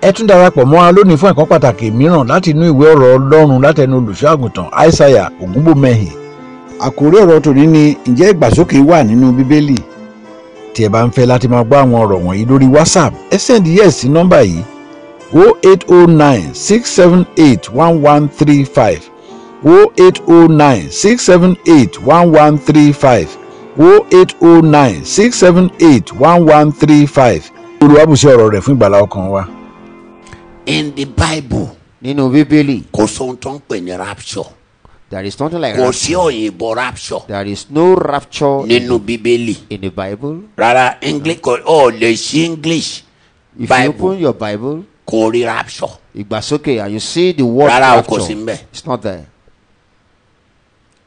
ẹ tún darapọ̀ mọ́ wa lónìí fún ẹ̀kọ́ pàtàkì mìíràn láti inú ìwé ọ̀rọ̀ ọlọ́run látẹnu olùṣọ́àgùntàn aishaiya ògúnbòmẹ́hìn àkórí ọ̀rọ̀ tòní ni ǹjẹ́ ìgbàsókè wà nínú bíbélì tí ẹ bá ń fẹ́ láti máa gbọ́ àwọn ọ̀rọ̀ wọ̀nyí lórí whatsapp ẹ send yes sí nọ́mbà yìí 0809 678 1135 0809 678 1135 0809 678 1135 olùwàbùsẹ̀ ọ̀rọ̀ rẹ̀ fún ìgbàlá ọkàn wa. in the bible nínú bíbélì kò sóhun tó ń pè ní rapture there is nothing like kò rapture sí òyìnbó rapture there is no rapture nínú bíbélì in the bible rárá english kò ó lè sí english if you bible open your bible kò rí rapture ìgbàsókè and you see the word Rárá o, kò rapture sí ńbẹ̀. it's not there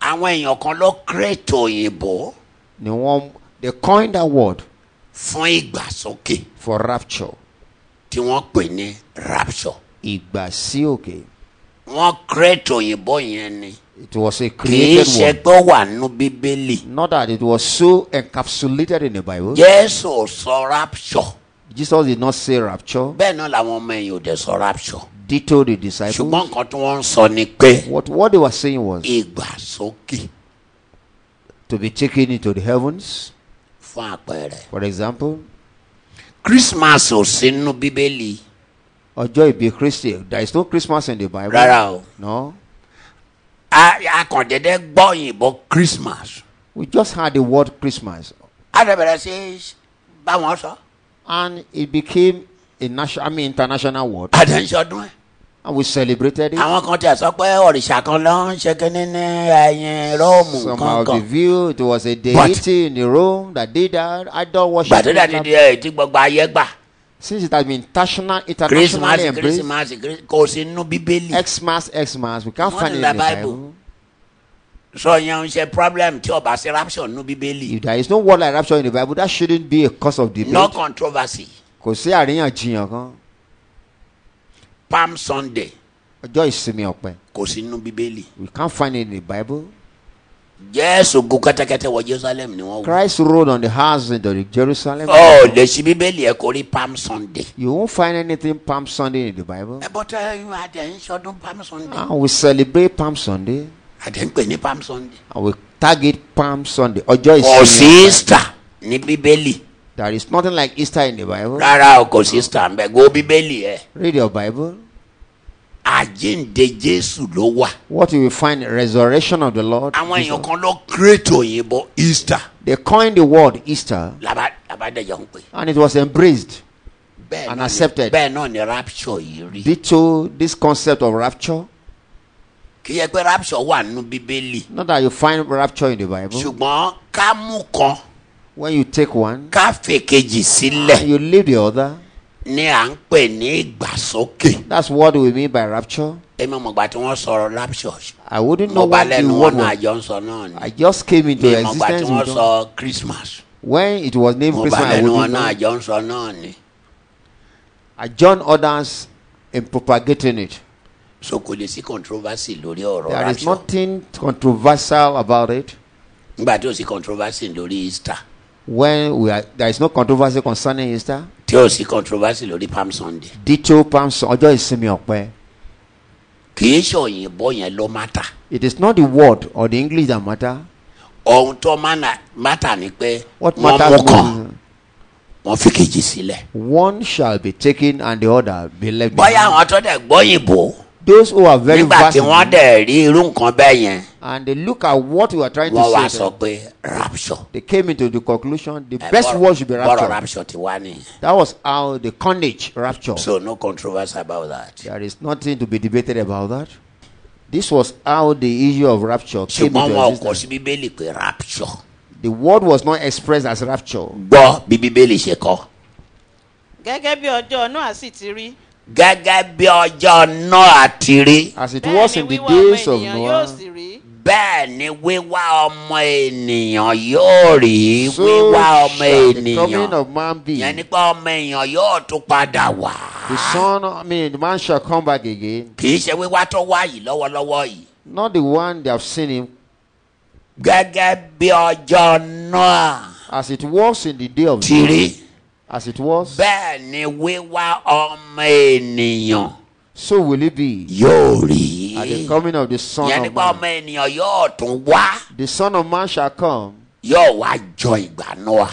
àwọn èèyàn kan ló create òyìnbó ni wọ́n they coined that word fún ìgbàsókè for rapture tí wọ́n pè ní rapture ìgbàsíòkè wọ́n create òyìnbó yẹn ni it was a kìí created ṣe word pé ó wà nínú bíbélì not that it was so encapsulated in the bible jésù ò sọ rapture jesus did not say rapture bẹ́ẹ̀ náà làwọn ọmọ èèyàn ò dẹ̀ sọ rapture ditto the disciples ṣùgbọ́n nǹkan tí wọ́n ń sọ ni pé what what they were saying was ìgbàsókè to be taken into the heavens fún àpẹẹrẹ for example christmas ò sí nínú bíbélì ọjọ́ ìbí kristi there is no christmas in the bible rárá o no A- akàndéédé gbọ́ òyìnbó christmas we just had the word christmas a lè bẹ̀rẹ̀ sí í báwọn sọ and it became a national i mean international word a dẹ̀ ń ṣọdún ẹ̀. and we celebrated it àwọn kan tí a sọ pé òrìṣà kan ló ń ṣe kínní ní ẹ̀yìn róòmù somehow the kankan view it was a deity in the Rome that did that idol worship gbàdúrà ni di ẹ̀ tí gbogbo ayé gbà since it has been international christmas internationally embraced christmas Christ- kò sí nínú bíbélì xmas xmas we can't What find is it in the the Bible? bible sọ yẹn ń ṣe problem tí ó bá sí rapture nínú bíbélì if there is no word like rapture in the bible that shouldn't be a cause of no debate controversy kò sí àríyànjiyàn kan palm sunday ọjọ́ ìsinmi ọ̀pẹ kò sí nínú bíbélì we can't find it in the bible jésù gun kẹ́tẹ́kẹ́tẹ́ wọ jerusalem ni wọ́n wù. christ rode on the house in the jerusalem ọ lè ṣí Oh, bíbélì ẹ kò rí palm sunday. you won't find anything palm sunday in the bible ẹ bọ́ tẹ ẹyin adẹ ń ṣọdún palm sunday. and we celebrate palm sunday adẹ ń pè ní palm sunday. and we target palm sunday ọjọ́ kò sí ìsinmi ọ̀pẹ easter ní bíbélì there is nothing like easter in the bible. rárá o kò sí easter ń bẹ go bíbélì ẹ. Read your Bible. àjíǹde jésù ló wà. What you will find resurrection of the Lord. àwọn Jesus. èèyàn kan ló kírètò òyìnbó easter They coined the word Easter làbá làbádẹjọ ń pè. and it was embraced. bẹ́ẹ̀ náà And ni accepted. bẹ́ẹ̀ náà ni rapture yìí rí. Ditto this concept of rapture. kì í yẹ pé rapture wà nínú bíbélì. Not that you find rapture in the Bible. ṣùgbọ́n ká mú kan When you take one ká fèkejì sílẹ̀. and you leave the other, ni à ń pè ní ìgbàsókè. that's what we mean by rapture. èmi mọ̀gbà tí wọ́n sọ̀rọ̀ rapture I wouldn't know mo bá what the lẹ́nu word wọn náà was. àjọ ń sọ náà ni. I just came into mi mọ̀gbà tí existence. wọ́n with sọ God. christmas When it was named mo Christmas, bá I lẹ́nu wọn wouldn't náà know. àjọ ń sọ náà ni. I joined others in propagating it. so kò lè sí controversy lórí ọ̀rọ̀ There is rapture nothing controversial about it. nígbà tí ò sí controversy lórí easter when we are there is no controversy concerning Easter. tí ò sí controversy lórí palm sunday. Ditto Palm Sun- ọjọ́ ìsinmi ọ̀pẹ. kì í ṣe òyìnbó yẹn ló mátà It is not the word or the English that matter. ohun tó mana- mátà ni pé What wọ́n mú matters kan most is wọ́n fi kejì sílẹ̀. one shall be taken and the other be left. bóyá behind. àwọn tó dẹ̀ gbọ́yìnbó Those who are very nígbà tí wọ́n versatile dẹ̀ rí irú nǹkan bẹ́ẹ̀ yẹn. and they look at what we are trying wọ́n wá to say, sọ to them, pé rapture. they came into the conclusion the Ẹ, best bọ́rọ̀- word should be bọ́rọ̀ rapture. rapture ti wá ni. That was how the carnage rapture. so no controversy about that. There is nothing to be debated about that. This was how the issue of rapture came ṣùgbọ́n into wọn kò existence. sí bíbélì pé rapture. The word was not expressed as rapture. gbọ́ bí bíbélì ṣe kọ́. gẹ́gẹ́ bí ọjọ́ náà sì ti rí. gẹ́gẹ́ bí ọjọ́ náà àti rí as it bẹ́ẹ̀ was ni in the wíwá ọmọ days of ènìyàn yóò Noah, sì rí. bẹ́ẹ̀ ni wíwá ọmọ ènìyàn yóò rí wíwá so ọmọ shall the coming ènìyàn of man be. yẹn ni pé ọmọ ènìyàn yóò tún padà wá. The son, I mean, the man shall come back again. kì í ṣe wíwá tó wá yìí lọ́wọ́lọ́wọ́ yìí. Not the one they have seen him, gẹ́gẹ́ bí ọjọ́ náà as it was in the day of ti Noah, rí as it was, bẹ́ẹ̀ ni wíwá ọmọ ènìyàn so will it be yóò rí at the coming of the Son yẹn of nípa ọmọ Man. ènìyàn yóò tún wá The Son of Man shall come, yóò wá jọ ìgbà noa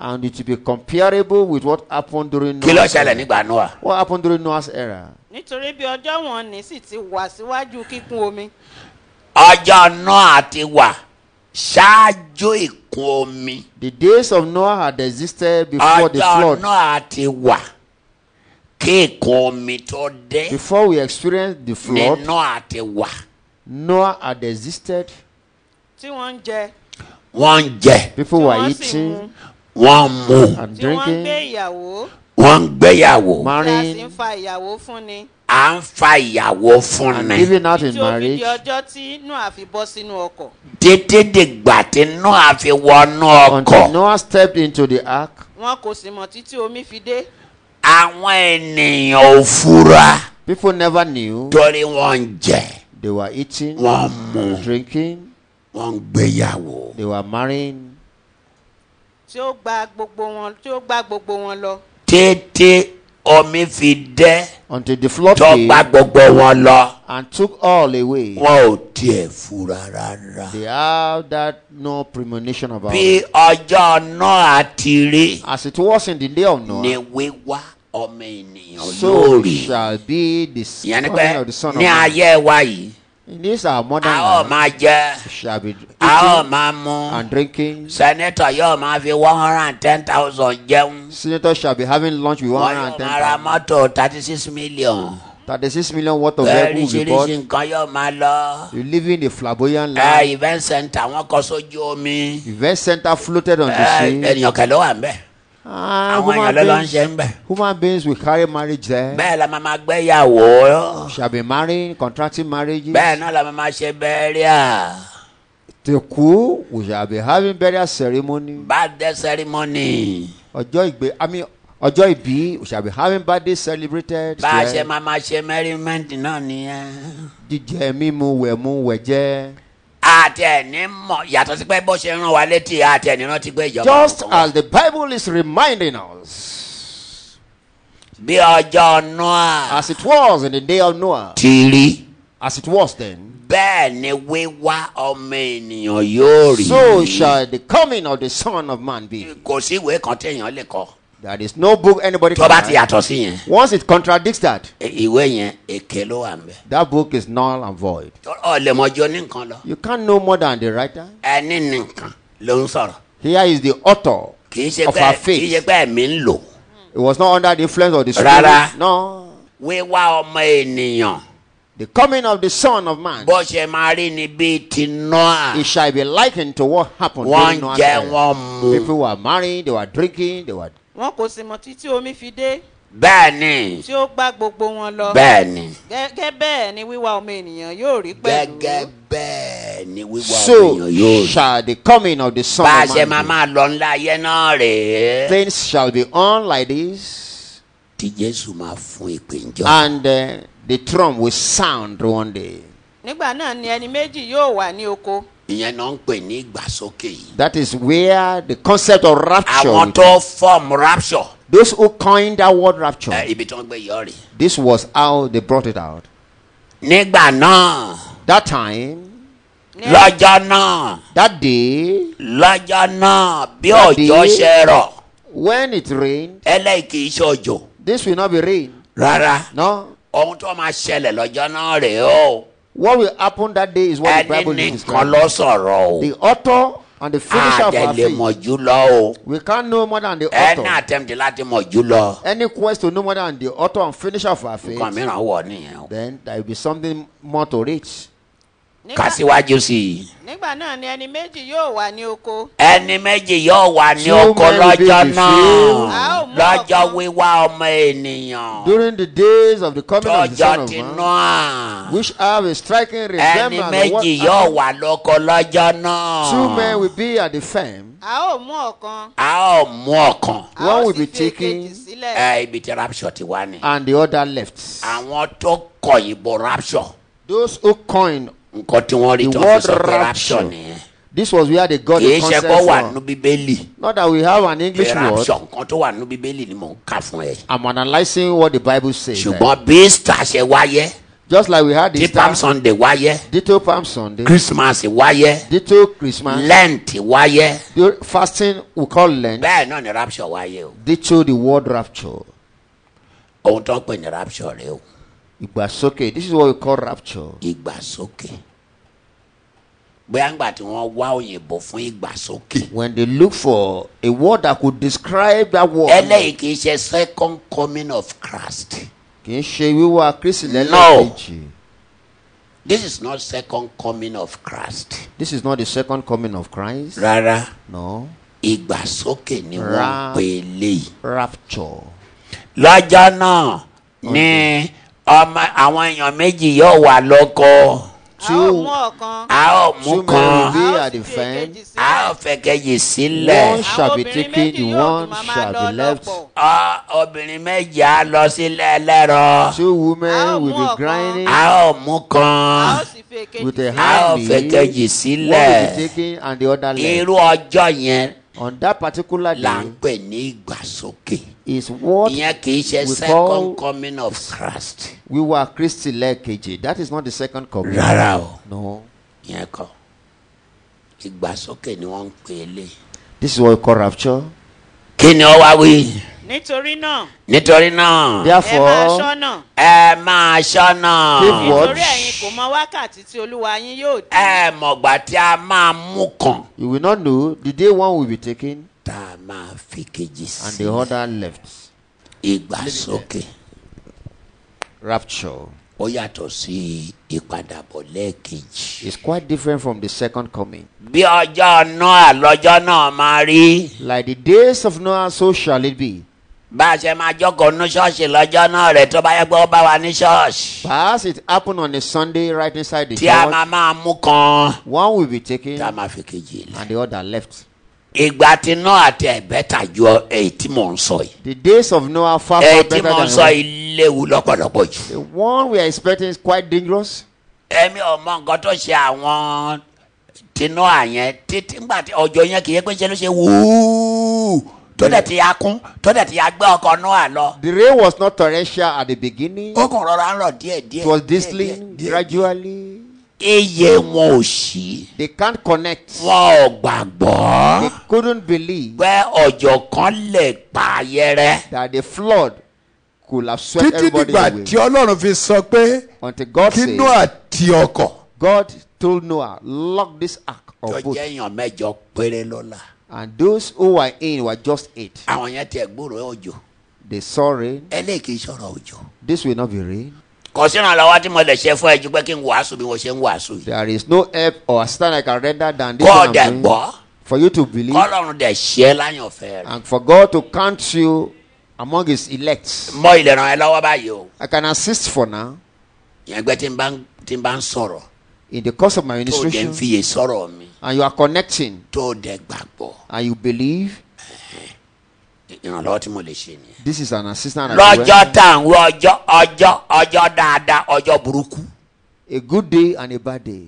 and it will be comparable with what happened during kí ló Noah's ṣẹlẹ̀ era. nígbà noa What happened during Noah's era? nítorí bí ọjọ́ wọn ní sì ti wà síwájú kíkún omi ọjọ́ noa ti wà ṣáájú ìkún omi The days of Noah had existed before the ọjọ́ flood, noa ti wà kí ìkún omi tó dé before we experienced the ni flood. noa ti wà Noah had existed. tí wọ́n ń jẹ wọ́n ń jẹ People tí were wọ́n sì ń mu eating wọ́n ń mu and tí wọ́n ń gbé drinking, ìyàwó wọ́n ń gbéyàwó tí a sì ń marrying, fa ìyàwó fún ni à ń fa ìyàwó fún and ni giving out in tí ó fi marriage di ọjọ́ tí noah fi bọ́ sínú ọkọ̀ títí dìgbà tí noa fi wọnú ọkọ̀ until Noah stepped into the ark. wọn kò sì mọ̀ títí omi fi dé àwọn ènìyàn ò fura People never knew torí wọ́n ń jẹ they were eating, wọ́n ń mu drinking, wọ́n ń gbéyàwó they were marrying tí ó gba gbogbo wọn tí ó gba gbogbo wọn lọ títí omi fi dẹ́ until the flood tó came gba gbogbo wọn lọ and took all away. wọn ò tiẹ̀ fura rárá. They have that no premonition about bí it. ọjọ́ náà ti rí As it was in the day of ni Noah, wíwá ọmọ ènìyàn so lórí. shall be the ìyẹn ni coming pé of the Son of ní Man. ayé wa yìí In this our modern a ó life, máa jẹ shall be eating a ó máa mu and drinking. sẹ́nẹ́tọ̀ yóò máa fi one hundred and ten thousand jẹun Senators shall be having lunch with wọ́n yóò máa ra 110 mọ́tò thirty six million 36 million worth of bẹ́ẹ̀ vehicle will be bought. oríṣiríṣi nǹkan yóò máa lọ You live in a ẹ flamboyant life. event center wọn kọ sójú omi Event center floated on ẹ the sea. ènìyàn kẹlẹ́ wà ń bẹ̀ Ah, àwọn èèyàn ló lọ ń ṣe ń bẹ̀. human, beings, human beings will carry marriage there. bẹ́ẹ̀ la máa máa gbéyàwó Shall be marrying, contracting marriages. bẹ́ẹ̀ náà la máa máa ṣe bẹ́ẹ̀ríà The coup, we shall be having burial ceremony. birthday ceremony Ọjọ́ ìgbé, I mean, ọjọ́ ìbí, we shall be having birthday celebrated. bá a ṣe Yes. máa máa ṣe merriment náà nìyẹn. Jíjẹ, mímu, wẹ̀mú, wẹ̀jẹ. àti ẹni mọ̀ yàtọ̀ sí pé bó ṣe ń rán wa létí àti ẹni rántí pé ìjọba Just kọ̀ọ̀kan wà. as the Bible is reminding us, bí ọjọ́ náà as it was in the day of Noah, ti rí as it was then, bẹ́ẹ̀ ni wíwá ọmọ ènìyàn yóò rí. so shall the coming of the Son of Man be. kò sí ìwé kan téèyàn lè kọ There is no book anybody tó can bá ti write. yàtọ̀ sí yẹn Once it contradicts that, i- ìwé yẹn èké ló wà nbẹ. that book is null and void. ọ̀lẹ́mọjọ ní nǹkan lọ You can't know more than the writer. ẹni nìkan ló ń sọ̀rọ̀ Here is the author kì í ṣe of pé our kì í ṣe faith. pé ẹ̀mí ń lò. It was not under the influence of the spirit. Rárá. No. wíwá ọmọ ènìyàn The coming of the Son of Man, bó ṣe máa rí ni bíi ti noah it shall be likened to what happened wọ́n during Noah's jẹ era. wọ́n mu People were marrying, they were drinking, they were. wọn kò sì mọ̀ títí omi fi dé bẹ́ẹ̀ ni tí ó gba gbogbo wọn lọ bẹ́ẹ̀ ni gẹ́gẹ́ bẹ́ẹ̀ ni wíwá ọmọ ènìyàn yóò rí pẹ̀lú gẹ́gẹ́ bẹ́ẹ̀ ni wíwá ọmọ So ènìyàn yóò rí. shall the coming of the Son bá a of ṣe Man. máa be. máa lọ ńlá ayé náà rèé Things shall be on like this, tí jésù máa fún ìpéjọ. and uh, the drum will sound one day. nígbà náà ni ẹni méjì yóò wà ní oko ìyẹn náà ń pè ní ìgbàsókè yìí. That is where the concept of rapture. àwọn tó fọ́ọ̀mù rapture Those who coined that word rapture, ẹ, ibi tó ń gbé yọ rè. this was how they brought it out. nígbà náà That time, ní lọ́jọ́ náà that day, lọ́jọ́ náà bí Daddy. òjò ṣe rọ̀ when it rained, ẹlẹ́yìí kì í ṣe òjò this will not be rain. rárá No. ohun tó máa ṣẹlẹ̀ lọ́jọ́ náà rèé o What will happen that day is what the ẹni Bible is nìkan describing. ló Ah, sọ̀rọ̀ o The author and the finisher of our àdẹ̀lẹ̀ faith. mọ̀ jùlọ o We can't know more than the ẹni author. àtẹ̀mtì láti mọ̀ jùlọ Any quest to know more than the author and finisher of our faith. nǹkan mìíràn wọ̀ nìyẹn o then there will be something more to reach. nígbà- kà síwájú sí i nígbà náà ni ẹni méjì yóò wà ní oko ẹni méjì yóò wà ní Two oko men will be lọ́jọ́ the few. A ó náà mú lọ́jọ́ ọ̀kan. wíwá ọmọ ènìyàn During the days of the coming of the lọ́jọ́ Son of tí Man, náà. which have a striking ẹni resemblance of what méjì yóò wà happened, lóko lọ́jọ́ náà. two men will be at the firm, a ó mú ọ̀kan a ó mú ọ̀kan. a One ó will sì be fi èkejì taken- sílẹ̀ ẹ ibi tí rapture ti wá ni. and the other left. àwọn tó kọ ìbò rapture Those who coined nǹkan tí wọ́n rí The tó fi word sọ pé rapture. rapture nìyẹn. This was where they got kì the í ṣe kọ́ consensus wà from. nínú bíbélì Not that we have an English word. ìránṣọ kan tó wà nínú bíbélì ni mò ń kà fún ẹ I'm analyzing what the Bible says. there. ṣùgbọ́n bí star ṣe wáyé Just like we had the tí Easter, palm sunday wáyé Ditto Palm Sunday, christmas wáyé Ditto Christmas, lent wáyé the fasting we call Lent, bẹ́ẹ̀ náà ni rapture wáyé o Ditto the word rapture. ohun tó ń pè ní rapture rèé o Igbasoke. This is what we call rapture. ìgbàsókè bóyá ńgbà tí wọ́n wá òyìnbó fún ìgbàsókè When they look for a word that could describe that word, eléyìí kì í ṣe second coming of christ kì í ṣe wíwá Kristi lẹ́lẹ́kejì. this is not second coming of christ This is not the second coming of Christ. rárá No. ìgbàsókè ni wọ́n ń Ra- pè eléyìí. Rapture. lọ́jọ́ náà ni ọmọ àwọn èèyàn méjì yóò wà lóko a ó Two- mú ọ̀kan a ó mú Two men will kan be a ó at sì the fi èkejì fan. a sílẹ̀. ó fẹ̀kẹ̀yì sílẹ̀ One shall Àwọn be obìnrin taken, méjì the yóò one tún máa máa shall lọ be left. lọ́pọ̀. Ọ- obìnrin méjì á lọ sílẹ̀ ẹlẹ́rọ Two Ah, women will more, be grinding. a ó mú a kan ó sì fi èkejì with a sílẹ̀. a ó hand fẹ̀kẹ̀yì One will be sílẹ̀ taken and the other left. irú ọjọ́ yẹn On that particular là ń day pè ní ìgbàsókè is what ìyẹn kì í ṣe we second call- coming of Christ we were Christi lẹ́ẹ̀kejì. That is not the second coming. rárá o No. ìyẹn kọ́ ìgbàsókè ni wọ́n ń pè é lé. This is what we call rapture. kí ni ó wá wí nítorí náà nítorí náà ẹ máa Therefore, ṣọ́nà ẹ máa ṣọ́nà Give word. nítorí ẹ̀yin kò mọ wákàtí tí olúwa yín yóò dé ẹ mọ̀gbà tí a máa mú kàn you will not know the day one will be taken tá a máa fi kejì and sí the other left. ìgbàsókè Rapture ó yàtọ̀ sí ìpadàbọ̀ lẹ́ẹ̀kejì. is quite different from the second coming. bí ọjọ́ náà lọ́jọ́ náà máa rí Like the days of Noah, so shall it be. bá a ṣe máa jókòó ní ṣọ́ọ̀ṣì lọ́jọ́ náà rẹ̀ tó bá yẹ pé ó bá wa ní ṣọ́ọ̀ṣì Perhaps it happened on a Sunday right inside the tí a church. máa máa mú kàn One will be taken tá a máa fi kejì lẹ̀. and the other left. ìgbà tí náà àti ẹ̀bẹ́ta ju ọ- èyí tí mò ń sọ yìí. The days of Noah far far ẹ better tí than mo ń the sọ one. iléwu lọ́pọ̀lọpọ̀ jù. The one we are expecting is quite dangerous. ẹ̀mí ọmọ nǹkan tó ṣe àwọn tinú àyẹn títí ńgbà tí ọjọ́ yẹn kì í yẹ pé ṣe ló ṣe wúúú tó dẹ̀ ti ya kún tó dẹ̀ ti ya gbé ọkọ̀ náà lọ. The rain was not torrential at the beginning. ó kàn rọra ń rọ̀ díẹ̀ díẹ̀. It was díẹ̀, distilling díẹ̀, díẹ̀. gradually. iye wọn ò ṣí They can't connect. wọn ò gbàgbọ́ They couldn't believe pé ọjọ́ kan lè pa ayẹrẹ. that the flood could have swept títí everybody dìgbà tí away. ọlọ́run fi sọ pé Until God kí said, noah ti ọkọ̀ God told Noah, lock this ark tó of boat. jẹ́ èèyàn mẹ́jọ péré lọ́la And those who were in were just eight. àwọn yẹn tiẹ̀ gbúròó òjò They saw rain. ẹlẹ́ẹ̀kì sọ̀rọ̀ òjò. This will not be rain. kò sí ìrànlọ́wọ́ tí mo lè ṣe fún ẹ ju pé kí n wàásù bí mo ṣe ń wàásù yìí. There is no help or assistance I can render than this. kọ́ one I'm dẹ̀ doing. gbọ́ For you to believe kọ́lọ́run dẹ̀ ṣe é láyànfẹ́ rẹ̀. and for God to count you among his elect. mọ ilẹ̀ ràn ẹ́ lọ́wọ́ báyìí o. I can assist for now yẹn gbé tí n bá ń tí n bá ń sọ̀rọ̀ in the course of my tó o dẹ̀ ń administration. fiyè sọ̀rọ̀ mi And you are connecting tó o dẹ̀ gbàgbọ́ and you believe ìrànlọ́wọ́ tí mo lè ṣe nìyẹn. this is an assistant. as well. lọ́jọ́ tá à ń wọ ọjọ́ ọjọ́ ọjọ́ dáadáa ọjọ́ burúkú. A good day and a bad day.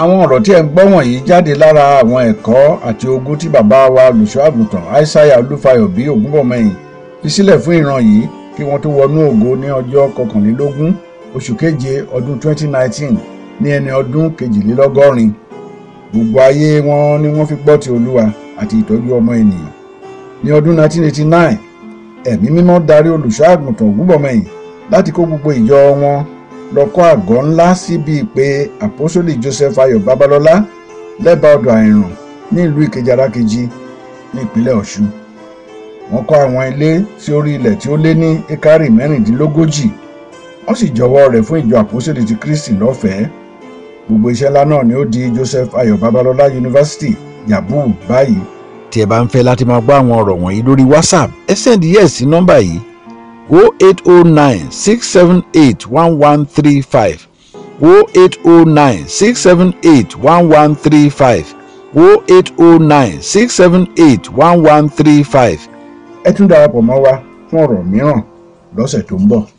àwọn ọ̀rọ̀ tí ẹ̀ ń gbọ́ wọ̀nyí jáde lára àwọn ẹ̀kọ́ àti ogún tí bàbá wa olùṣọ́àgùntàn aishaiya olúfayọ bí ògúnbọ̀mọyìn fi sílẹ̀ fún ìran yìí kí wọ́n tó wọnú ògo ní ọjọ́ kọkànlélógún oṣù keje ọdún 2019 ní ẹni ọdún kejìlélọ́gọ́rin gbogbo ayé wọn ni wọ́n fi gbọ́ ti olúwa àti ìtọ́jú ọmọ ènìyàn ní ọdún 1989 ẹ̀mí mímọ́ darí olùṣọ́àgùntàn ògúnbọ̀mọyìn láti kó gbogbo ìjọ wọn lọ kọ́ àgọ́ ńlá síbi ìpè àpọ́sólì joseph ayọ̀ babalọ́lá lẹ́bàá ọ̀dọ̀ àìrùn ní ìlú ìkejì arákejì ní ìpínlẹ̀ ọ̀ṣun. wọ́n kọ́ àwọn ilé sí orí ilẹ̀ tí ó lé ní ekari mẹ́rìndínlógójì wọ́n sì jọwọ́ rẹ̀ fún ìjọ àpọ́sólì ti kristi lọ́fẹ̀ẹ́. gbogbo iṣẹ́ ńlá náà ni ó di joseph ayọ̀ babalọ́lá yunifásitì yabu báyìí. tí ẹ bá ń fẹ́ láti máa gbọ́ àwọn ọ̀rọ̀ wọ̀nyí lórí whatsapp ẹ sẹ́ndí yẹ̀ sí nọ́mbà yìí 0809 678 1135 0809 678 1135 0809 678 1135. ẹ tún darapọ̀ mọ́ wa fún ọ̀rọ̀ mìíràn lọ́sẹ̀ tó ń bọ̀.